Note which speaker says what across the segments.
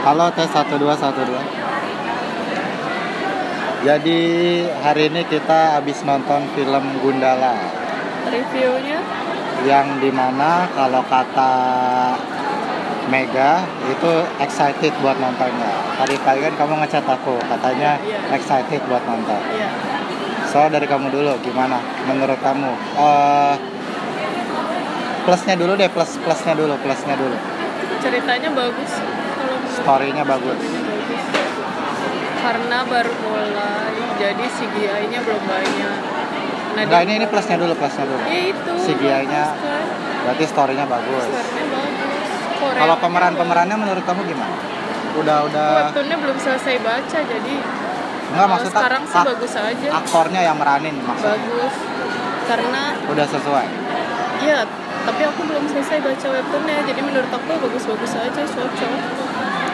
Speaker 1: Halo tes 1212. Jadi hari ini kita habis nonton film Gundala
Speaker 2: Reviewnya
Speaker 1: yang dimana kalau kata Mega itu excited buat nontonnya. Tadi pagi kan kamu ngechat aku katanya
Speaker 2: Iya.
Speaker 1: excited buat nonton.
Speaker 2: ya
Speaker 1: So dari kamu dulu gimana menurut kamu? Eh, plusnya dulu deh plus plusnya dulu plusnya dulu.
Speaker 2: ceritanya bagus kalau menurut
Speaker 1: Storynya bagus.
Speaker 2: story-nya bagus. Karena baru mulai jadi CGI-nya belum banyak. Nah,
Speaker 1: Enggak
Speaker 2: di-
Speaker 1: ini ini plusnya dulu plusnya dulu.
Speaker 2: Ya itu.
Speaker 1: CGI-nya
Speaker 2: bagus kan.
Speaker 1: Berarti storynya bagus.
Speaker 2: Story-nya bagus. Korea-
Speaker 1: Kalau pemeran-pemerannya menurut kamu gimana? Udah udah
Speaker 2: Webtoonnya belum selesai baca jadi
Speaker 1: enggak ah,
Speaker 2: eh,
Speaker 1: maksudnya
Speaker 2: sekarang sih
Speaker 1: ak-
Speaker 2: bagus aja.
Speaker 1: aktornya yang meranin maksudnya.
Speaker 2: Bagus. Karena
Speaker 1: Udah sesuai.
Speaker 2: ya tapi aku belum selesai baca webtoonnya jadi menurut aku bagus-bagus aja cocok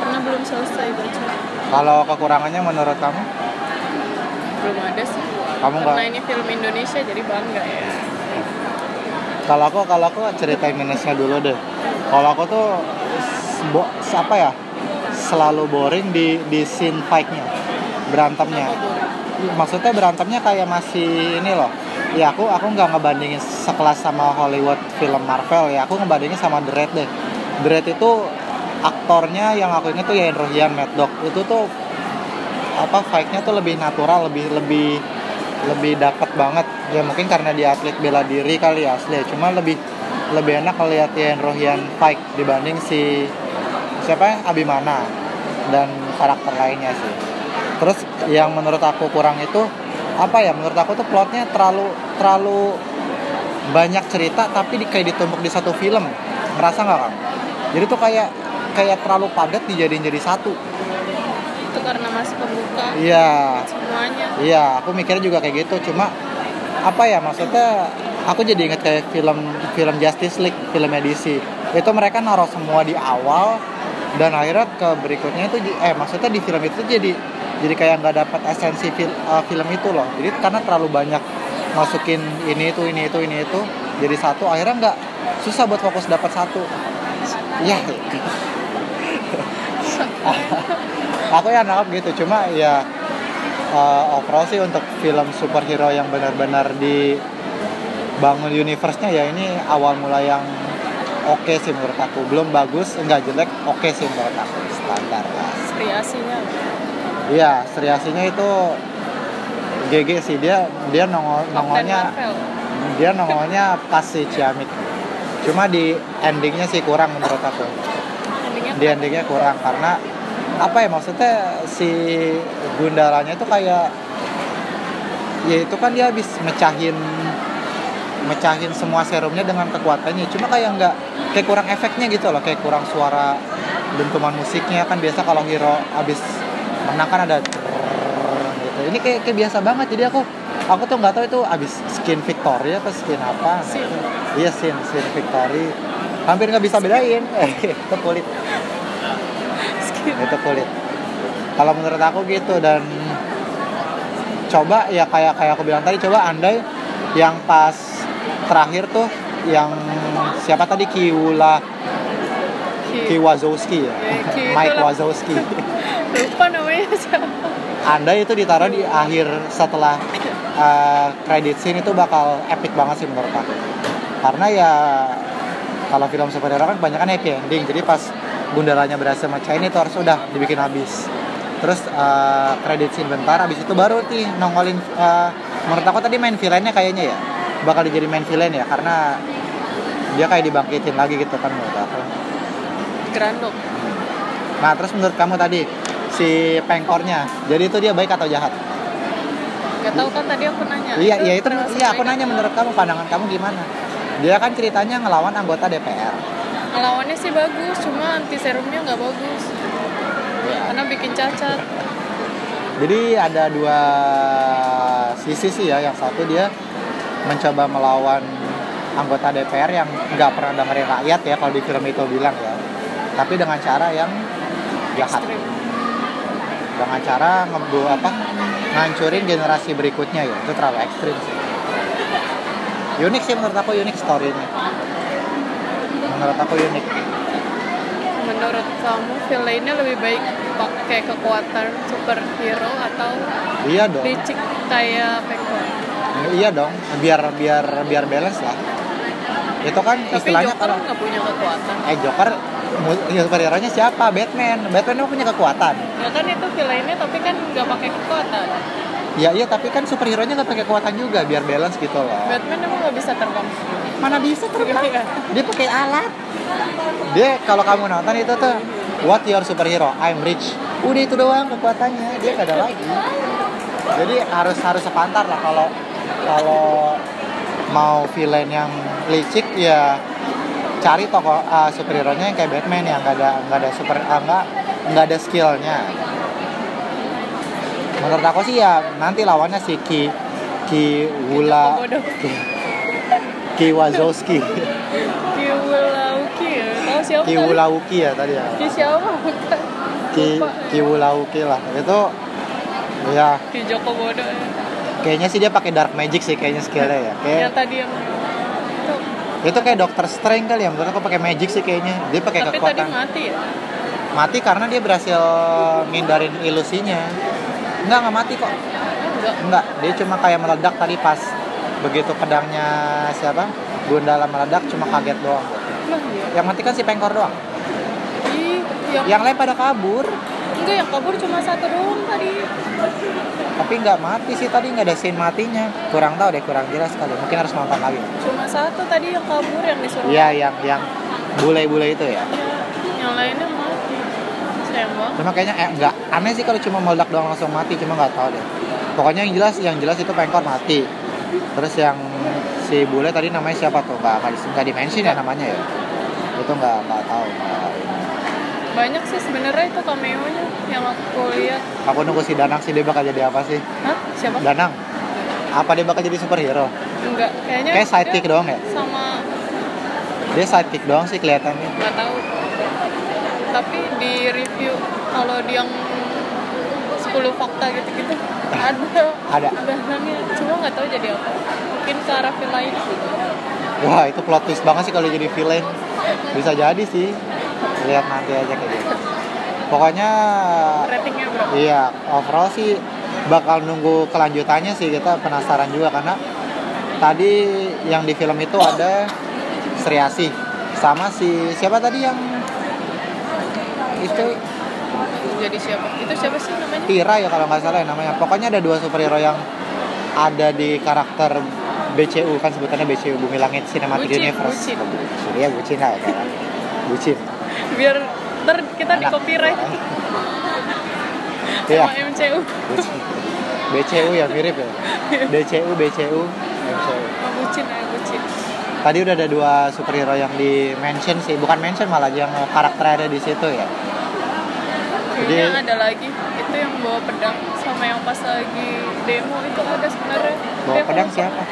Speaker 2: karena belum selesai baca
Speaker 1: Kalau kekurangannya menurut kamu?
Speaker 2: belum ada sih
Speaker 1: Kamu nggak-
Speaker 2: karena ini film Indonesia jadi bangga ya
Speaker 1: Kalau aku kalau aku ceritain minusnya dulu deh. Kalau aku tuh s- bo, s- apa ya? Selalu boring di di scene fight-nya. Berantemnya.
Speaker 2: Kenapa boring?
Speaker 1: maksudnya berantemnya kayak masih ini loh ya aku aku nggak ngebandingin sekelas sama Hollywood film Marvel ya aku ngebandingin sama The Raid deh The Raid itu aktornya yang aku inget tuh Yain Rohian Mad Dog itu tuh apa fightnya tuh lebih natural lebih lebih lebih dapat banget ya mungkin karena dia atlet bela diri kali ya asli cuma lebih lebih enak ngeliat Yain Rohian fight dibanding si siapa ya? Abimana dan karakter lainnya sih terus yang menurut aku kurang itu apa ya menurut aku tuh plotnya terlalu terlalu banyak cerita tapi di, kayak ditumpuk di satu film merasa nggak kamu jadi tuh kayak kayak terlalu padat dijadiin jadi satu
Speaker 2: itu karena masih pembuka
Speaker 1: iya
Speaker 2: semuanya
Speaker 1: Iya, aku mikirnya juga kayak gitu. Cuma apa ya maksudnya? Aku jadi inget kayak film film Justice League, filmnya DC. Itu mereka naruh semua di awal dan akhirnya ke berikutnya itu j- eh maksudnya di film itu jadi jadi kayak nggak dapat esensi fil- eh, film itu loh. Jadi karena terlalu banyak masukin ini itu ini itu ini itu jadi satu akhirnya nggak susah buat fokus dapat satu. Ya, aku ya nangkap gitu. Cuma ya uh, overall sih untuk film superhero yang benar-benar dibangun universe-nya ya ini awal mula yang oke sih menurut aku belum bagus enggak jelek oke sih menurut aku standar lah
Speaker 2: kreasinya
Speaker 1: iya seriasinya itu GG sih dia dia nongol
Speaker 2: Kapten
Speaker 1: nongolnya
Speaker 2: Marvel
Speaker 1: dia nongolnya pas si Ciamik cuma di endingnya sih kurang menurut aku
Speaker 2: endingnya
Speaker 1: di endingnya kurang karena apa ya maksudnya si Gundalanya itu kayak ya itu kan dia habis mecahin mecahin semua serumnya dengan kekuatannya cuma kayak nggak kayak kurang efeknya gitu loh kayak kurang suara dentuman musiknya kan biasa kalau hero habis menang kan ada gitu ini kayak, kayak biasa banget jadi aku aku tuh nggak tahu itu habis skin Victoria apa skin apa
Speaker 2: Sin.
Speaker 1: Iya sin, sin Victory. Hampir nggak bisa bedain. itu kulit,
Speaker 2: Skin.
Speaker 1: itu kulit. Kalau menurut aku gitu dan coba ya kayak kayak aku bilang tadi coba andai yang pas terakhir tuh yang siapa tadi Kiwula
Speaker 2: Ki-
Speaker 1: Kiwazowski ya.
Speaker 2: Ya, Ki
Speaker 1: Mike
Speaker 2: itulah.
Speaker 1: Wazowski.
Speaker 2: lupa namanya siapa
Speaker 1: Andai itu ditaruh di akhir setelah eh, kredit scene itu bakal epic banget sih menurut aku karena ya kalau film superhero kan kebanyakan happy ending jadi pas gundalanya berhasil mecahin itu harus udah dibikin habis terus eh, credit scene bentar habis itu baru nih nongolin eh, menurut aku tadi main villainnya kayaknya ya bakal jadi main villain ya karena dia kayak dibangkitin lagi gitu kan menurut aku
Speaker 2: Grandok
Speaker 1: nah terus menurut kamu tadi si pengkornya jadi itu dia baik atau jahat
Speaker 2: gak tau kan tadi aku nanya
Speaker 1: Iya, iya itu
Speaker 2: termasuk
Speaker 1: iya aku
Speaker 2: mereka.
Speaker 1: nanya menurut kamu pandangan kamu gimana? Dia kan ceritanya ngelawan anggota DPR.
Speaker 2: lawannya sih bagus cuma anti serumnya nggak bagus karena bikin cacat
Speaker 1: Jadi ada dua sisi sih ya. Yang satu dia mencoba melawan anggota DPR yang nggak pernah dengerin rakyat ya kalau di film itu bilang ya. Tapi dengan cara yang jahat,
Speaker 2: ekstrim
Speaker 1: dengan cara ngebu apa ngancurin generasi berikutnya ya. Itu terlalu ekstrim sih. Unik sih menurut aku unik story-nya. Menurut aku unik.
Speaker 2: menurut kamu villainnya lebih baik pakai kekuatan superhero atau
Speaker 1: Iya dong.
Speaker 2: licik kayak Pekor?
Speaker 1: Iya dong. Biar biar biar balance lah. Itu kan
Speaker 2: Tapi
Speaker 1: istilahnya
Speaker 2: Joker
Speaker 1: kalau
Speaker 2: nggak punya kekuatan.
Speaker 1: eh Joker mu- superhero-nya siapa? Batman. Batman emang punya kekuatan.
Speaker 2: Ya kan itu villainnya tapi kan nggak pakai kekuatan.
Speaker 1: Ya iya tapi kan superhero-nya nggak pakai kekuatan juga biar balance gitu loh.
Speaker 2: Batman emang nggak bisa terbang.
Speaker 1: Mana bisa terbang?
Speaker 2: Iya.
Speaker 1: Dia pakai alat. Dia kalau kamu nonton itu tuh What your superhero? I'm rich. Udah itu doang kekuatannya. Dia nggak ada lagi. Jadi harus harus sepantar lah kalau kalau mau villain yang licik ya cari tokoh eh, superhero-nya yang kayak Batman yang nggak ada nggak ada super eh, nggak nggak ada skillnya. Menurut aku sih ya nanti lawannya si Ki Ki Wula
Speaker 2: Bodoh.
Speaker 1: Ki Wazowski
Speaker 2: Kiwulauki ya. Tahu siapa?
Speaker 1: Ki
Speaker 2: tadi?
Speaker 1: Wulauki ya tadi ya
Speaker 2: Ki siapa?
Speaker 1: Ki
Speaker 2: Lupa.
Speaker 1: Ki Wulauki lah itu ya
Speaker 2: Ki Joko Bodoh. ya.
Speaker 1: kayaknya sih dia pakai dark magic sih kayaknya skillnya ya kayak
Speaker 2: Yang tadi yang itu.
Speaker 1: itu kayak Doctor Strange kali ya menurut aku pakai magic sih kayaknya dia pakai
Speaker 2: Tapi tadi
Speaker 1: kekuatan
Speaker 2: mati ya.
Speaker 1: mati karena dia berhasil ngindarin ilusinya enggak enggak mati kok
Speaker 2: Enggak.
Speaker 1: enggak dia cuma kayak meledak tadi pas begitu pedangnya siapa Gundala meledak cuma kaget doang
Speaker 2: Lah iya.
Speaker 1: yang mati kan si pengkor doang
Speaker 2: Ih, yang,
Speaker 1: yang lain pada kabur
Speaker 2: enggak yang kabur cuma satu doang tadi.
Speaker 1: tapi nggak mati sih tadi nggak ada scene matinya kurang tahu deh kurang jelas kali mungkin harus nonton lagi
Speaker 2: Cuma satu tadi yang kabur yang disuruh.
Speaker 1: iya yang yang bule-bule itu ya
Speaker 2: Yang lainnya mati. Sayang banget.
Speaker 1: cuma kayaknya eh, nggak aneh sih kalau cuma meledak doang langsung mati cuma nggak tahu deh pokoknya yang jelas yang jelas itu pengkor mati terus yang si bule tadi namanya siapa tuh nggak nggak di- nggak di mention ya namanya ya itu nggak nggak tahu nggak-
Speaker 2: Banyak sih sebenarnya itu cameo-nya yang aku lihat.
Speaker 1: aku nunggu si Danang sih dia bakal jadi apa sih
Speaker 2: Hah? Siapa?
Speaker 1: Danang apa dia bakal jadi superhero
Speaker 2: Enggak, kayaknya
Speaker 1: kayak
Speaker 2: dia
Speaker 1: sidekick doang ya
Speaker 2: sama
Speaker 1: dia sidekick doang sih kelihatannya
Speaker 2: nggak tahu. Tapi di review kalau di yang 10 fakta gitu-gitu ada
Speaker 1: Ah, Ada.
Speaker 2: dananya cuma nggak tahu jadi apa mungkin ke arah lain gitu
Speaker 1: Wah itu plot twist banget sih kalau jadi villain Bisa jadi sih Lihat nanti aja kayak gitu Pokoknya
Speaker 2: ratingnya berapa
Speaker 1: Iya overall sih Bakal nunggu kelanjutannya sih Kita penasaran juga karena Tadi yang di film itu ada Sri Asih Sama si siapa tadi yang Itu
Speaker 2: jadi siapa itu siapa sih namanya
Speaker 1: Tira ya kalau nggak salah ya namanya Pokoknya ada dua superhero yang Ada di karakter BCU kan sebutannya BCU Bumi Langit Cinematic
Speaker 2: Bucin,
Speaker 1: Universe
Speaker 2: bucin.
Speaker 1: Iya bucin lah ya kan. Bucin.
Speaker 2: biar ntar kita di
Speaker 1: Anak.
Speaker 2: copyright
Speaker 1: Iya.
Speaker 2: sama MCU
Speaker 1: bucin. BCU ya mirip ya. DCU, BCU, MCU.
Speaker 2: Sama bucin ya bucin
Speaker 1: Tadi udah ada dua superhero yang di mention sih, bukan mention malah yang karakter ada di situ ya.
Speaker 2: kayaknya
Speaker 1: Jadi-
Speaker 2: ada lagi itu yang bawa pedang sama yang pas lagi demo itu ada sebenarnya
Speaker 1: Bawa
Speaker 2: Demo.
Speaker 1: pedang siapa?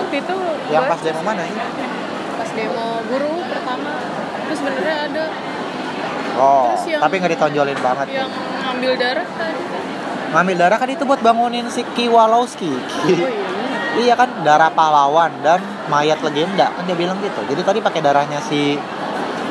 Speaker 2: waktu itu
Speaker 1: Yang
Speaker 2: gua-
Speaker 1: pas demo mana ya?
Speaker 2: pas demo buruh pertama terus sebenarnya ada
Speaker 1: Oh,
Speaker 2: Terus yang-
Speaker 1: tapi nggak ditonjolin banget.
Speaker 2: yang ngambil darah kan? tadi
Speaker 1: Ngambil darah kan itu buat bangunin si Kiwalowski.
Speaker 2: oh iya
Speaker 1: Iya kan darah pahlawan dan mayat legenda kan dia bilang gitu. Jadi tadi pakai darahnya si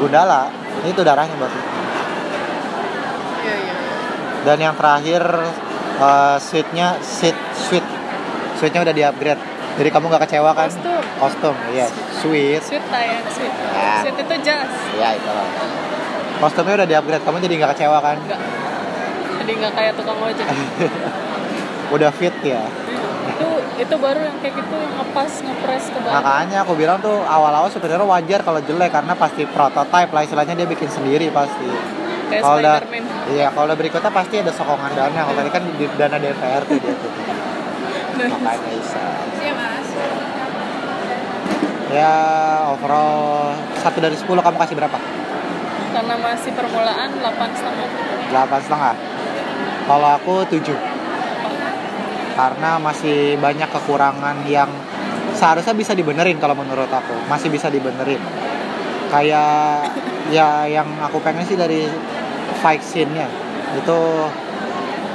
Speaker 1: Gundala itu darahnya buat
Speaker 2: iya iya
Speaker 1: dan yang terakhir uh, suite-nya suite suite suite-nya udah di upgrade jadi kamu nggak kecewa kan
Speaker 2: Kostum.
Speaker 1: kostum iya suite
Speaker 2: sweet lah ya sweet
Speaker 1: Ya.
Speaker 2: sweet itu jas
Speaker 1: ya itu lah kostumnya udah di upgrade kamu jadi nggak kecewa kan
Speaker 2: enggak jadi nggak kayak tukang ojek
Speaker 1: udah fit ya
Speaker 2: itu itu baru yang kayak gitu yang ngepas ngepres ke bawah
Speaker 1: makanya aku bilang tuh awal-awal sebenarnya wajar kalau jelek karena pasti prototype lah istilahnya dia bikin sendiri pasti
Speaker 2: kayak
Speaker 1: kalau udah
Speaker 2: Spiderman
Speaker 1: iya kalau udah berikutnya pasti ada sokongan dana kalau tadi kan di dana DPR tuh dia tuh
Speaker 2: Nah.
Speaker 1: makanya bisa
Speaker 2: iya mas
Speaker 1: Ya overall 1 dari 10 kamu kasih berapa?
Speaker 2: karena masih permulaan 8 setengah
Speaker 1: 8 setengah Kalau aku 7 Karena masih banyak kekurangan yang seharusnya bisa dibenerin kalau menurut aku Masih bisa dibenerin Kayak ya yang aku pengen sih dari fight scene-nya Itu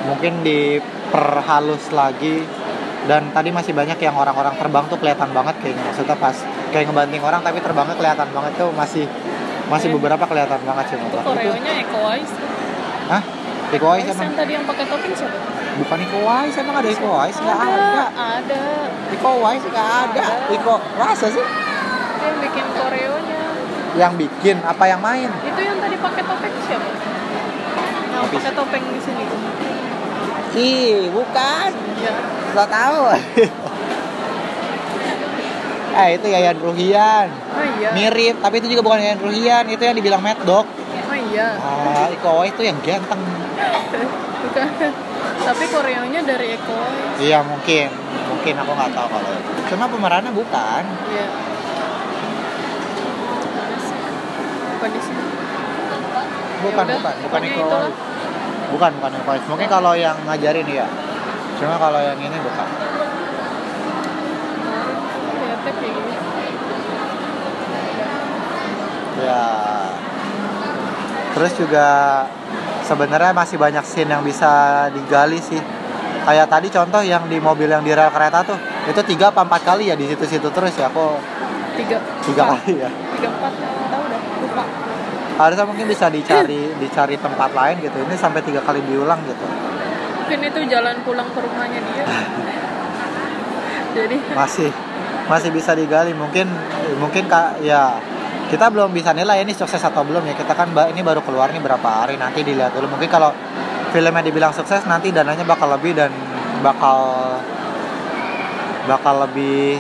Speaker 1: mungkin diperhalus lagi dan tadi masih banyak yang orang-orang terbang tuh kelihatan banget kayaknya maksudnya pas kayak ngebanting orang tapi terbangnya kelihatan banget tuh masih
Speaker 2: Iya.
Speaker 1: masih beberapa kelihatan banget sih
Speaker 2: Itu
Speaker 1: menurut aku tuh
Speaker 2: koreonya Eko Wise.
Speaker 1: Hah? Iko Uwais
Speaker 2: Wise
Speaker 1: emang
Speaker 2: yang tadi yang pakai topping siapa?
Speaker 1: bukan Iko Uwais emang ada Iko Uwais nggak ada
Speaker 2: Ada.
Speaker 1: Iko Uwais nggak ada
Speaker 2: Ada.
Speaker 1: Iko rasa sih
Speaker 2: Yang bikin koreonya.
Speaker 1: yang bikin apa yang main
Speaker 2: Itu yang tadi pakai topeng siapa? Yang
Speaker 1: Tapi-
Speaker 2: pakai topeng di sini.
Speaker 1: ih bukan
Speaker 2: Iya.
Speaker 1: Gak tahu. eh itu Yayan Ruhian.
Speaker 2: Oh iya.
Speaker 1: Mirip, tapi itu juga bukan Yayan Ruhian, itu yang dibilang Mad Dog.
Speaker 2: Oh iya.
Speaker 1: Ah, Iko Uwais itu yang ganteng.
Speaker 2: Bukan. Tapi koreonya dari Eko Wise.
Speaker 1: Iya mungkin, mungkin aku nggak tahu kalau. itu. Cuma pemerannya bukan.
Speaker 2: Iya. Mana sih? Bukan di sini.
Speaker 1: Bukan,
Speaker 2: Yaudah,
Speaker 1: bukan, bukan
Speaker 2: pokoknya
Speaker 1: Iko
Speaker 2: itulah.
Speaker 1: Uwais. Bukan, bukan Iko Uwais. Mungkin kalau yang ngajarin ya. Cuma kalau yang ini bukan.
Speaker 2: Lihatnya kayak gini.
Speaker 1: Ya. Terus juga sebenarnya masih banyak scene yang bisa digali sih. Kayak tadi contoh yang di mobil yang di rel kereta tuh, itu tiga apa empat kali ya di situ-situ terus ya. Aku
Speaker 2: Tiga.
Speaker 1: tiga
Speaker 2: empat.
Speaker 1: kali ya.
Speaker 2: Tiga empat. Tahu dah. Lupa.
Speaker 1: Harusnya mungkin bisa dicari dicari tempat lain gitu. Ini sampai tiga kali diulang gitu.
Speaker 2: Mungkin itu jalan pulang ke rumahnya dia. Jadi
Speaker 1: Masih masih bisa digali. Mungkin mungkin kak ya kita belum bisa nilai ini sukses atau belum ya. Kita kan ba- ini baru keluar nih berapa hari nanti dilihat dulu. Mungkin kalau filmnya dibilang sukses nanti dananya bakal lebih dan bakal bakal lebih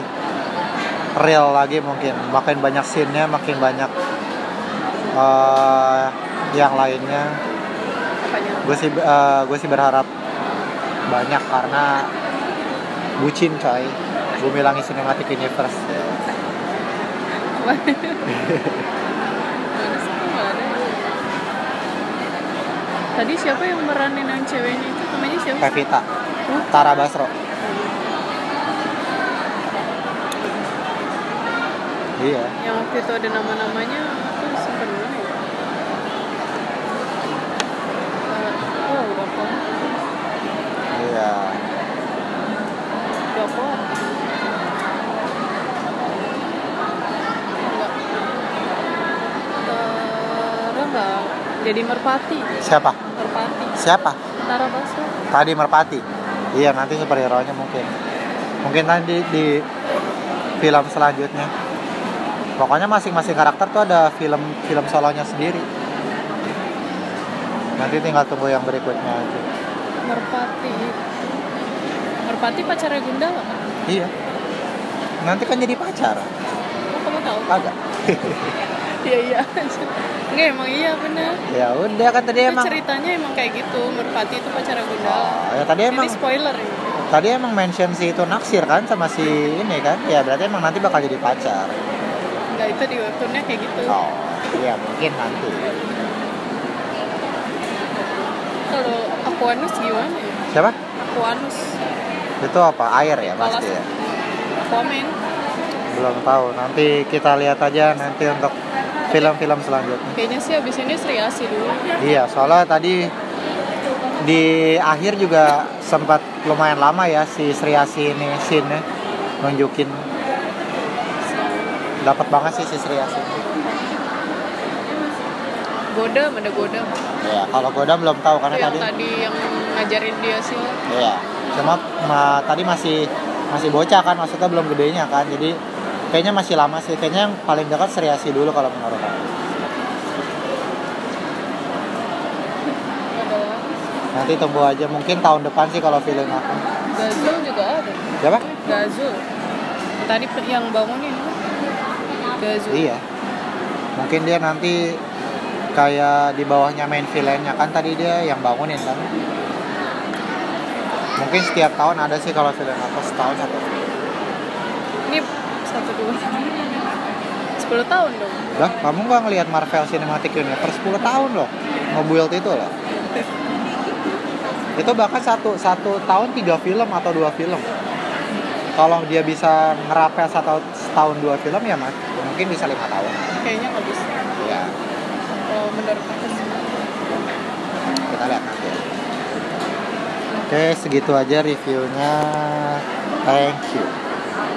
Speaker 1: real lagi mungkin. Makin banyak scene-nya, makin banyak eh, yang lainnya.
Speaker 2: apanya?
Speaker 1: gue sih eh, gue sih berharap banyak karena bucin coy bumi langit cinematic universe
Speaker 2: Mana sih? Nggak ada. Tadi siapa yang meranin yang ceweknya itu? Namanya siapa?
Speaker 1: Pevita Tara Basro iya
Speaker 2: Yang waktu itu ada nama-namanya aku simpen mana ya? Eh, Oh, udah kok.
Speaker 1: iya
Speaker 2: Udah kok. Enggak. Tara nggak Eh, jadi merpati.
Speaker 1: siapa
Speaker 2: Merpati.
Speaker 1: siapa
Speaker 2: Tara Basro.
Speaker 1: tadi Merpati iya nanti superhero nya mungkin mungkin nanti di film selanjutnya pokoknya masing-masing karakter tuh ada film film solonya sendiri nanti tinggal tunggu yang berikutnya aja
Speaker 2: Merpati. Merpati pacarnya Gundala kan?
Speaker 1: iya nanti kan jadi pacar
Speaker 2: Oh, kamu tahu?
Speaker 1: agak
Speaker 2: Iya iya. Nggak emang iya bener.
Speaker 1: ya udah kan tadi
Speaker 2: Itu
Speaker 1: emang
Speaker 2: ceritanya emang kayak gitu. Merpati itu pacarnya Gundala.
Speaker 1: Oh, ya tadi emang
Speaker 2: Ini spoiler ya.
Speaker 1: tadi emang mention si itu naksir kan sama si ini kan ya berarti emang nanti bakal jadi pacar
Speaker 2: Nggak itu di webtoonnya kayak gitu.
Speaker 1: oh iya mungkin nanti
Speaker 2: Kalau Aquanus gimana ya?
Speaker 1: siapa
Speaker 2: Aquanus.
Speaker 1: itu apa air ya pasti ya
Speaker 2: Aquaman.
Speaker 1: belum tahu nanti kita lihat aja nanti untuk film-film selanjutnya
Speaker 2: Kayaknya sih abis ini Sri Asi dulu.
Speaker 1: iya soalnya tadi di akhir juga sempat lumayan lama ya si Sri Asi ini scene nunjukin dapat banget sih si Sri Asi
Speaker 2: Godam ada Godam.
Speaker 1: ya kalau Godam belum tahu
Speaker 2: Itu
Speaker 1: karena
Speaker 2: yang
Speaker 1: tadi
Speaker 2: Iya, tadi yang ngajarin dia sih.
Speaker 1: Iya. Cuma ma- tadi masih masih bocah kan, maksudnya belum gedenya kan. Jadi kayaknya masih lama sih. Kayaknya yang paling dekat seriasi dulu kalau menurut aku.
Speaker 2: Ada
Speaker 1: Nanti tunggu aja mungkin tahun depan sih kalau feeling aku. Iya,
Speaker 2: Gazul juga ada.
Speaker 1: Siapa?
Speaker 2: Gazul. Tadi pe- yang bangunin. Gazul.
Speaker 1: Iya. Mungkin dia nanti kayak di bawahnya main villainnya kan tadi dia yang bangunin kan. Mungkin setiap tahun ada sih kalau villain aku setahun satu.
Speaker 2: Ini satu dua. Sepuluh tahun dong.
Speaker 1: Lah, kamu nggak ngelihat Marvel Cinematic Universe 10 tahun loh nge-build itu loh. Itu bahkan satu satu tahun tiga film atau dua film. Kalau dia bisa ngerapel satu setahun dua film ya mas, mungkin bisa lima tahun.
Speaker 2: Kayaknya nggak bisa. Oh,
Speaker 1: Ya,
Speaker 2: Kalau menurut aku sih.
Speaker 1: kita lihat nanti. Oke, segitu aja reviewnya. Thank you.